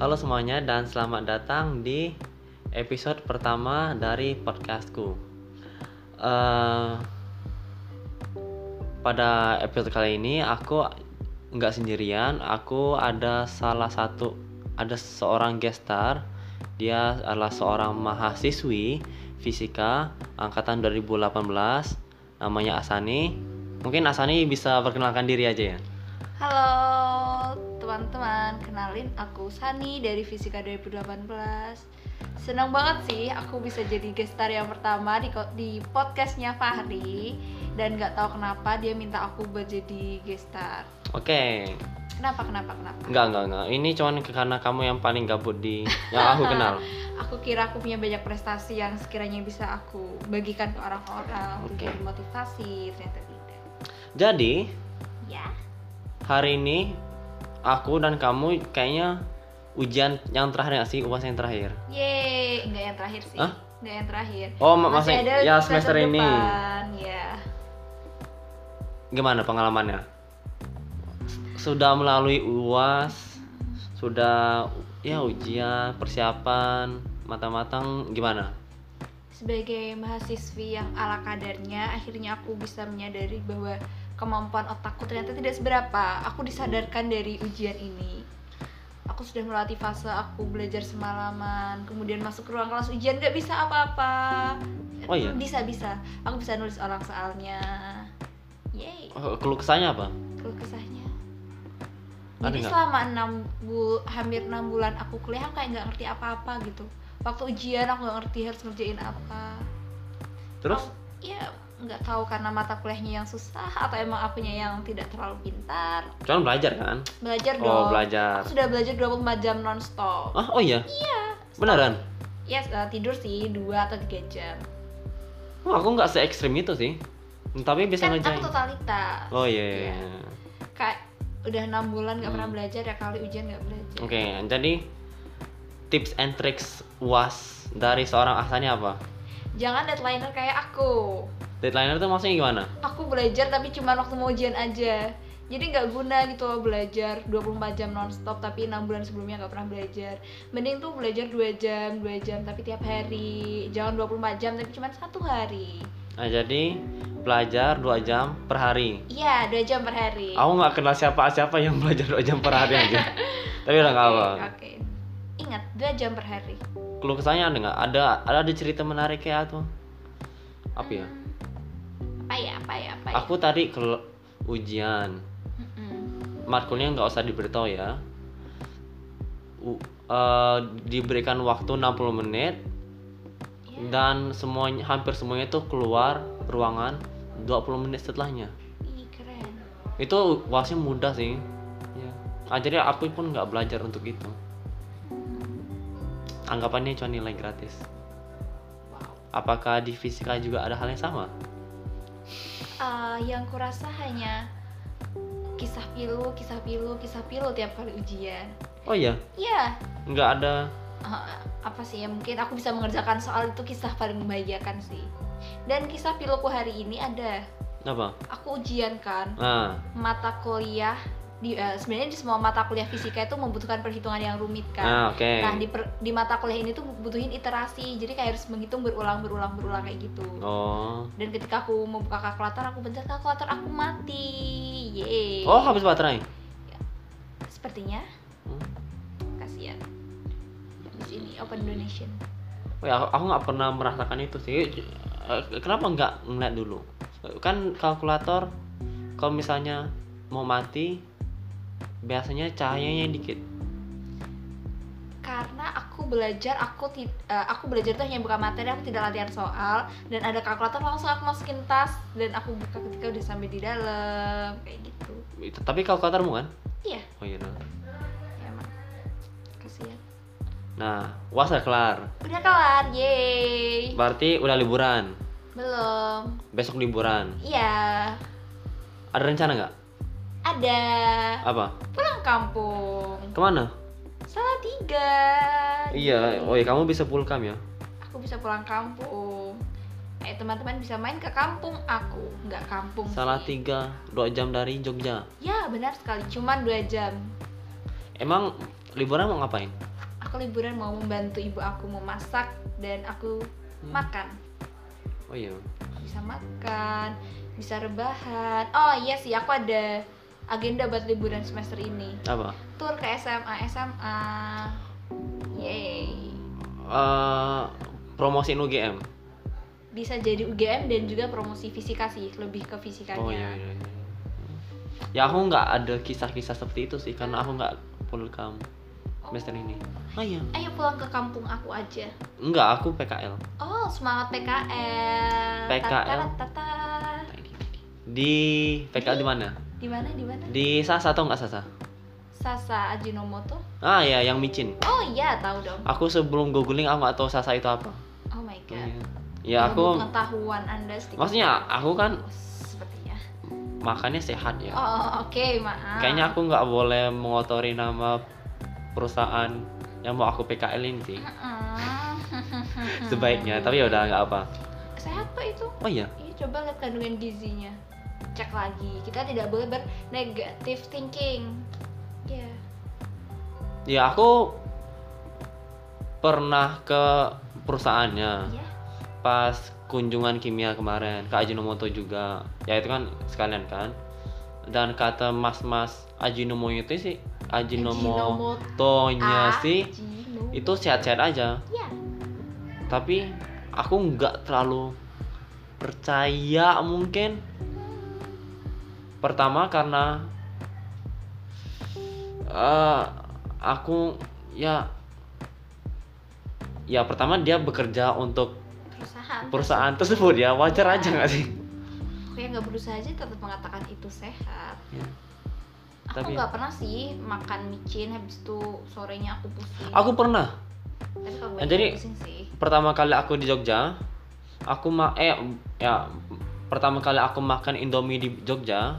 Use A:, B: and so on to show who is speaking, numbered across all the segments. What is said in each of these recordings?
A: Halo semuanya dan selamat datang di episode pertama dari podcastku. Eh, pada episode kali ini aku nggak sendirian, aku ada salah satu ada seorang guest star. Dia adalah seorang mahasiswi fisika angkatan 2018 namanya Asani. Mungkin Asani bisa perkenalkan diri aja ya.
B: Halo teman-teman, kenalin aku Sani dari Fisika 2018 Senang banget sih aku bisa jadi guest star yang pertama di, ko- di podcastnya Fahri Dan gak tahu kenapa dia minta aku buat jadi guest star
A: Oke.
B: Kenapa, kenapa, kenapa?
A: Enggak, enggak, enggak. Ini cuman ke- karena kamu yang paling gabut di yang aku kenal.
B: Aku kira aku punya banyak prestasi yang sekiranya bisa aku bagikan ke orang-orang
A: Oke.
B: Untuk jadi motivasi, ternyata tidak
A: Jadi,
B: Ya,
A: hari ini aku dan kamu kayaknya ujian yang terakhir nggak sih? UAS yang terakhir.
B: yeay, enggak yang terakhir sih
A: Hah?
B: Enggak yang terakhir
A: Oh, ma- masih,
B: ada
A: ya semester ini.
B: depan, ya.
A: Gimana pengalamannya? S- Sudah melalui UAS, sudah ya ujian, persiapan, matang-matang gimana?
B: Sebagai mahasiswi yang ala kadarnya, akhirnya aku bisa menyadari bahwa kemampuan otakku ternyata tidak seberapa. Aku disadarkan dari ujian ini. Aku sudah melewati fase aku belajar semalaman, kemudian masuk ke ruang kelas ujian gak bisa apa-apa.
A: Oh iya?
B: Bisa bisa. Aku bisa nulis orang soalnya. Yeay.
A: Oh, Keluh kesahnya apa?
B: Keluh kesahnya.
A: Ada
B: Jadi
A: nggak?
B: selama enam bu hampir enam bulan aku kuliah aku kayak nggak ngerti apa-apa gitu. Waktu ujian aku nggak ngerti harus ngerjain apa
A: Terus
B: ya nggak tahu karena mata kuliahnya yang susah atau emang akunya yang tidak terlalu pintar
A: cuman belajar kan?
B: belajar
A: Oh,
B: dong
A: belajar.
B: Aku sudah belajar 24 jam nonstop
A: Ah, oh iya.
B: iya
A: Beneran?
B: ya eh, tidur sih dua atau tiga jam
A: Oh, aku nggak se ekstrim itu sih. Tapi bisa
B: kan
A: ngerjain.
B: aku totalitas
A: Oh iya.
B: Iya. kayak udah enam bulan nggak pernah
A: Hmm.
B: belajar ya kali ujian nggak belajar
A: Oke, jadi tips and tricks UAS dari seorang asanya apa?
B: jangan deadlineer kayak aku
A: Deadlineer itu maksudnya gimana?
B: aku belajar tapi cuma waktu mau ujian aja jadi nggak guna gitu loh belajar 24 jam nonstop tapi enam bulan sebelumnya nggak pernah belajar mending tuh belajar 2 jam 2 jam tapi tiap hari jangan 24 jam tapi cuma satu hari
A: Nah, jadi belajar 2 jam per hari.
B: iya 2 jam per hari
A: Aku nggak kenal siapa-siapa yang belajar 2 jam per hari aja. Tapi udah nggak
B: Oke,
A: apa.
B: oke. ingat 2 jam per hari
A: Keluh kesahnya ada nggak? Ada ada ada cerita menarik kayak tuh. Apa ya?
B: Hmm, apa ya apa ya apa ya
A: Aku tadi ke ujian.
B: Mm-mm.
A: Matkulnya nggak usah diberitahu ya. U- eh, diberikan waktu 60 menit
B: Ya,
A: dan semuanya hampir semuanya tuh keluar ruangan 20 menit setelahnya
B: ih, keren
A: itu wasnya mudah sih ya. Ah, jadi aku pun nggak belajar untuk itu anggapannya cuma nilai gratis
B: wow
A: apakah di fisika juga ada hal yang sama
B: Eh, yang kurasa hanya kisah pilu kisah pilu kisah pilu tiap kali ujian
A: oh iya
B: Iya,
A: nggak ada
B: eh, apa sih ya mungkin aku bisa mengerjakan soal itu kisah paling membahagiakan sih. Dan kisah piloku hari ini ada.
A: apa
B: Aku ujian kan
A: nah
B: mata kuliah di eh, sebenarnya di semua mata kuliah fisika itu membutuhkan perhitungan yang rumit kan.
A: ah, oke
B: Nah, di per- di mata kuliah ini tuh butuhin iterasi. Jadi kayak harus menghitung berulang berulang berulang kayak gitu.
A: oh
B: Dan ketika aku membuka kalkulator, aku bentar kalkulator aku mati. Yeay.
A: oh habis baterai
B: Sepertinya
A: Hmm.
B: kasihan. Di sini Open Donation.
A: Wih, aku Ya, aku nggak pernah merasakan itu sih. Eh, Kenapa nggak ngeliat dulu? Eh, Kan kalkulator, kalau misalnya mau mati, biasanya cahayanya dikit.
B: karena aku belajar aku ti- eh, aku belajar tuh hanya buka materi aku tidak latihan soal dan ada kalkulator langsung aku masukin tas dan aku buka ketika udah sampai di dalam kayak gitu
A: Itu- Tapi kalkulatormu kan?
B: Iya.
A: Oh iya. nah.
B: ya, emang kasihan
A: Nah, was udah kelar.
B: udah kelar yeay
A: Berarti udah liburan.
B: belum
A: Besok liburan.
B: iya
A: Ada rencana nggak?
B: ada
A: Apa?
B: pulang kampung
A: Kemana?
B: salah tiga Gitu.
A: Iya. Oh iya, kamu bisa pulkam ya?
B: aku bisa pulang kampung eh teman-teman bisa main ke kampung aku nggak kampung
A: Salah
B: sih.
A: tiga, dua jam dari Jogja.
B: ya benar sekali cuman dua jam
A: Emang liburan mau ngapain?
B: aku liburan mau membantu ibu aku memasak dan aku
A: Hmm.
B: makan
A: Oh iya.
B: bisa makan bisa rebahan oh iya sih aku ada agenda buat liburan semester ini
A: Apa?
B: tur ke SMA SMA yay
A: Eh promosiin UGM.
B: bisa jadi UGM dan juga promosi fisika sih lebih ke fisikanya
A: Oh iya, iya, iya. Ya aku nggak ada kisah-kisah seperti itu sih karena aku nggak pulkam
B: Oh.
A: semester ini. Ah iya.
B: ayo pulang ke kampung aku aja
A: Enggak, aku PKL.
B: oh semangat PKL
A: PKL.
B: tata
A: Di PKL di mana?
B: di mana di mana
A: Di Sasa atau nggak Sasa?
B: Sasa Ajinomoto
A: Ah ya, yang micin.
B: oh iya tahu dong
A: Aku sebelum googling aku nggak tahu Sasa itu apa.
B: oh my god
A: Iya. Ya aku
B: pengetahuan anda sedikit
A: maksudnya aku kan
B: sepertinya
A: makannya sehat ya.
B: oh oke maaf
A: Kayaknya aku nggak boleh mengotori nama perusahaan yang mau aku PKL-in sih.
B: Mm-mm.
A: Sebaiknya, tapi ya udah nggak apa.
B: sehat kok itu
A: Oh iya,
B: Iya coba lihat kandungan gizinya. Cek lagi. Kita tidak boleh bernegatif thinking. Ya.
A: ya aku pernah ke perusahaannya
B: Iya.
A: pas kunjungan kimia kemarin ke Ajinomoto juga. Ya itu kan sekalian kan. Dan kata mas-mas Ajinomoto itu sih Ajinomoto nya iya sih
B: Ajinomo-
A: itu sehat-sehat aja.
B: Iya.
A: Tapi aku nggak terlalu percaya mungkin pertama karena eh aku ya ya pertama dia bekerja untuk
B: Perusahaan.
A: perusahaan tersebut ya wajar aja nggak sih
B: Aku yang nggak berusaha aja tetap mengatakan itu sehat.
A: Ya.
B: Aku
A: Tapi-
B: nggak pernah sih makan micin habis itu sorenya aku pusing.
A: aku pernah
B: Tapi kalau
A: Eh,
B: banyak
A: jadi-
B: pusing sih.
A: pertama kali aku di Jogja aku ma eh ya pertama kali aku makan Indomie di Jogja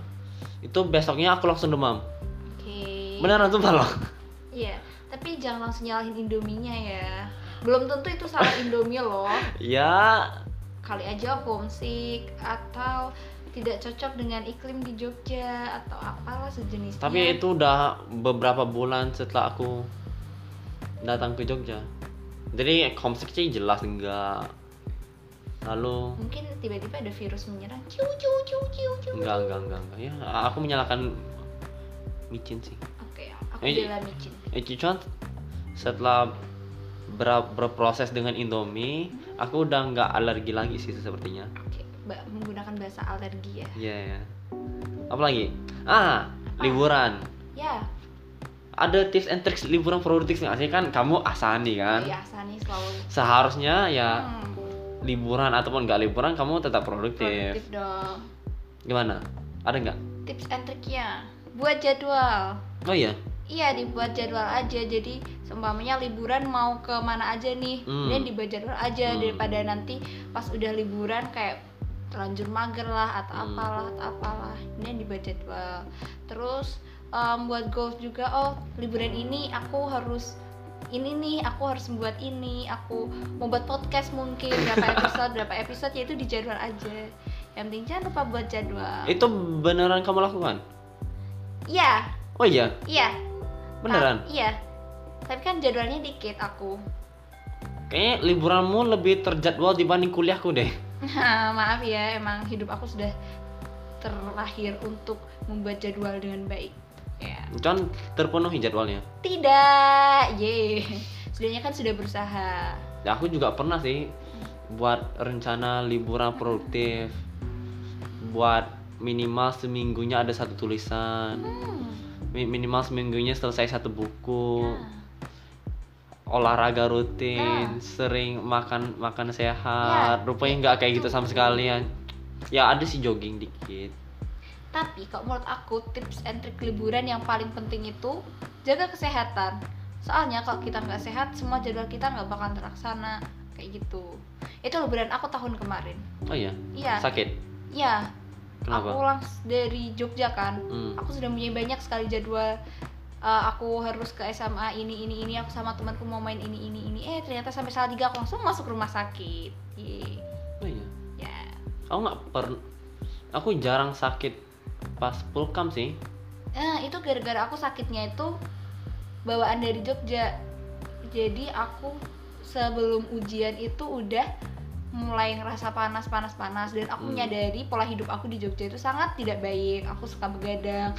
A: itu besoknya aku langsung demam
B: Oke.
A: beneran tuh loh
B: Iya. Tapi jangan langsung nyalahin indominya ya. Belum tentu itu salah indomie loh.
A: ya
B: kali aja homesick atau tidak cocok dengan iklim di Jogja atau apalah sejenisnya.
A: Tapi itu udah beberapa bulan setelah aku datang ke Jogja. Jadi homesick sih jelas enggak. Lalu
B: mungkin tiba-tiba ada virus menyerang. Ciu ciu ciu ciu ciu.
A: enggak enggak enggak, enggak. Ya, aku menyalahkan micin sih.
B: Oke, ya, aku
A: Eh,
B: bela micin.
A: Eh, cuman setelah ber- berproses dengan Indomie, aku udah nggak alergi lagi sih sepertinya.
B: Oke, ba- menggunakan bahasa alergi ya.
A: Iya. Apa lagi? Ah, liburan.
B: Ya,
A: Ada tips and tricks liburan produktif nggak sih kan? Kamu Asani kan?
B: ya Sani selalu
A: Seharusnya ya
B: Hmm,
A: liburan ataupun nggak liburan kamu tetap produktif.
B: produktif dong.
A: Gimana? Ada nggak?
B: Tips and triknya buat jadwal.
A: Oh iya.
B: Iya dibuat jadwal aja jadi seumpamanya liburan mau ke mana aja nih
A: Hmm.
B: dan dibuat jadwal aja
A: Hmm.
B: daripada nanti pas udah liburan kayak terlanjur mager lah atau
A: Hmm.
B: apalah atau apalah ini dibuat jadwal terus em, buat goals juga oh liburan ini aku harus ini nih aku harus membuat ini aku mau buat podcast mungkin berapa episode berapa episode ya itu di jadwal aja yang penting jangan lupa buat jadwal
A: Itu beneran kamu lakukan?
B: iya
A: Oh iya,
B: iya
A: beneran.
B: Ta- iya. Tapi kan jadwalnya dikit aku.
A: Kayaknya liburanmu lebih terjadwal dibanding kuliahku deh.
B: Maaf ya, emang hidup aku sudah terlahir untuk membuat jadwal dengan baik. Ya.
A: Cuman terpenuhi jadwalnya.
B: Tidak. Ye. Sudahnya kan sudah berusaha.
A: Ya, aku juga pernah sih buat rencana liburan produktif. Buat minimal seminggunya ada satu tulisan.
B: Hmm.
A: Mi- Minimal seminggunya selesai satu buku.
B: Nah.
A: olahraga rutin,
B: Nah.
A: sering makan makan sehat.
B: Ya,
A: Rupanya nggak kayak gitu
B: itu.
A: sama sekalian. Ya ada sih jogging dikit.
B: Tapi kalau menurut aku tips and trick liburan yang paling penting itu jaga kesehatan. Soalnya kalau kita nggak sehat, semua jadwal kita nggak bakal terlaksana kayak gitu. Itu liburan aku tahun kemarin.
A: Oh iya,
B: Iya.
A: sakit.
B: Iya, aku
A: Kenapa?
B: langs dari Jogja kan
A: Hmm.
B: aku sudah punya banyak sekali jadwal Uh, aku harus ke SMA ini ini ini aku sama temanku mau main ini ini ini eh ternyata sampai salah tiga aku langsung masuk rumah sakit Yeay.
A: Oh iya.
B: ya
A: Aku nggak per aku jarang sakit pas pulkam sih.
B: Eh, itu gara-gara aku sakitnya itu bawaan dari Jogja jadi aku sebelum ujian itu udah mulai ngerasa panas panas panas dan aku
A: Hmm.
B: menyadari pola hidup aku di Jogja itu sangat tidak baik aku suka begadang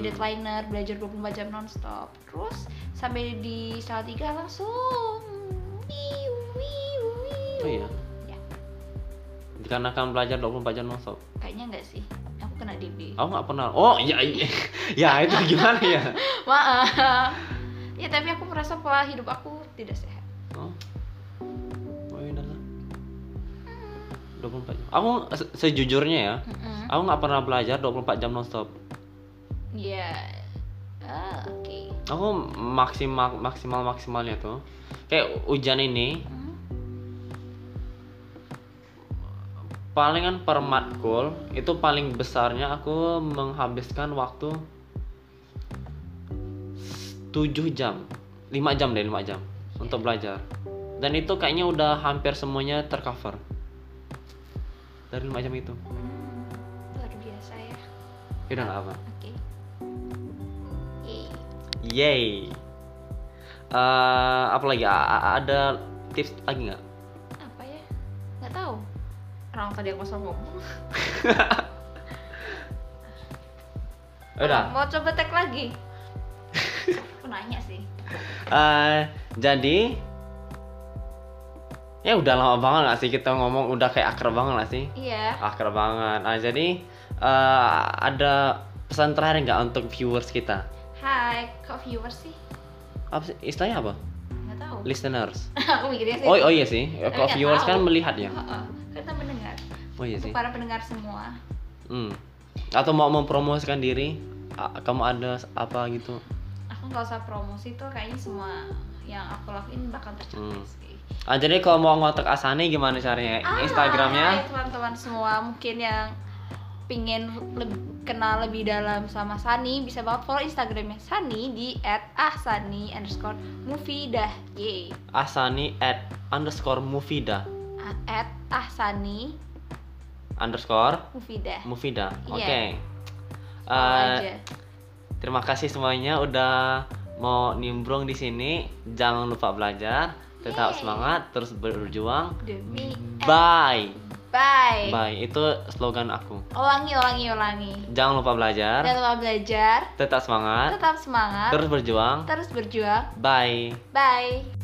A: Hmm.
B: deadlineer belajar 24 jam nonstop terus sampai di Salatiga langsung wiu, wiu, wiu.
A: Oh iya?
B: Ya,
A: dikarenakan belajar 24 jam nonstop
B: kayaknya enggak sih aku kena DB
A: aku nggak pernah oh ya iya. ya itu gimana ya
B: maaf ya tapi aku merasa pola hidup aku tidak sehat
A: oh oh iya dah lah. 24 jam aku se- sejujurnya ya
B: Mm-mm.
A: aku nggak pernah belajar 24 jam nonstop
B: ya ah, oke
A: aku maksimal maksimal maksimalnya tuh kayak hujan ini
B: Hmm.
A: palingan per matkul itu paling besarnya aku menghabiskan waktu 7 jam 5 jam deh 5 jam untuk belajar dan itu kayaknya udah hampir semuanya tercover dari 5 jam itu
B: Hmm, luar biasa ya
A: Ya udah nggak apa
B: oke Yeay.
A: yay Eh, apa lagi A- a- ada tips lagi nggak
B: apa ya nggak tahu orang tadi aku sombong
A: udah
B: mau coba tag lagi aku nanya sih
A: Eh, jadi ya udah lama banget gak sih kita ngomong udah kayak akrab banget gak sih
B: iya
A: akrab banget nah jadi eh, ada pesan terakhir nggak untuk viewers kita
B: hai kok viewers sih
A: apa sih- istilahnya apa
B: nggak tahu
A: listeners
B: aku mikirnya sih
A: oh oh iya sih kalau
B: nggak
A: viewers
B: tahu.
A: kan melihat ya
B: Heeh, Kan kita mendengar
A: oh iya
B: untuk
A: sih
B: para pendengar semua
A: hmm. atau mau mempromosikan diri a- kamu ada apa gitu
B: aku nggak usah promosi tuh kayaknya semua yang aku lakuin bakal tercapai
A: Hmm.
B: sih
A: ah jadi kalau mau ngotak Asani gimana caranya
B: Ah,
A: Instagramnya
B: hai teman-teman semua mungkin yang pingin leb- kenal lebih dalam sama Sani bisa banget follow Instagramnya Sani di @ahsani underscore movie dah yay
A: Asani at underscore movida
B: at ahsani
A: underscore
B: movie dah
A: Mufida. Oke.
B: Iya.
A: Eh,
B: Follow aja
A: terima kasih semuanya udah mau nimbrung di sini. Jangan lupa belajar, tetap
B: Yeay.
A: semangat, terus berjuang.
B: demi
A: Bye.
B: bye.
A: Bye. Itu slogan aku.
B: ulangi ulangi ulangi
A: Jangan lupa
B: jangan
A: belajar,
B: lupa belajar
A: tetap semangat,
B: tetap semangat
A: terus berjuang.
B: terus berjuang
A: Bye.
B: bye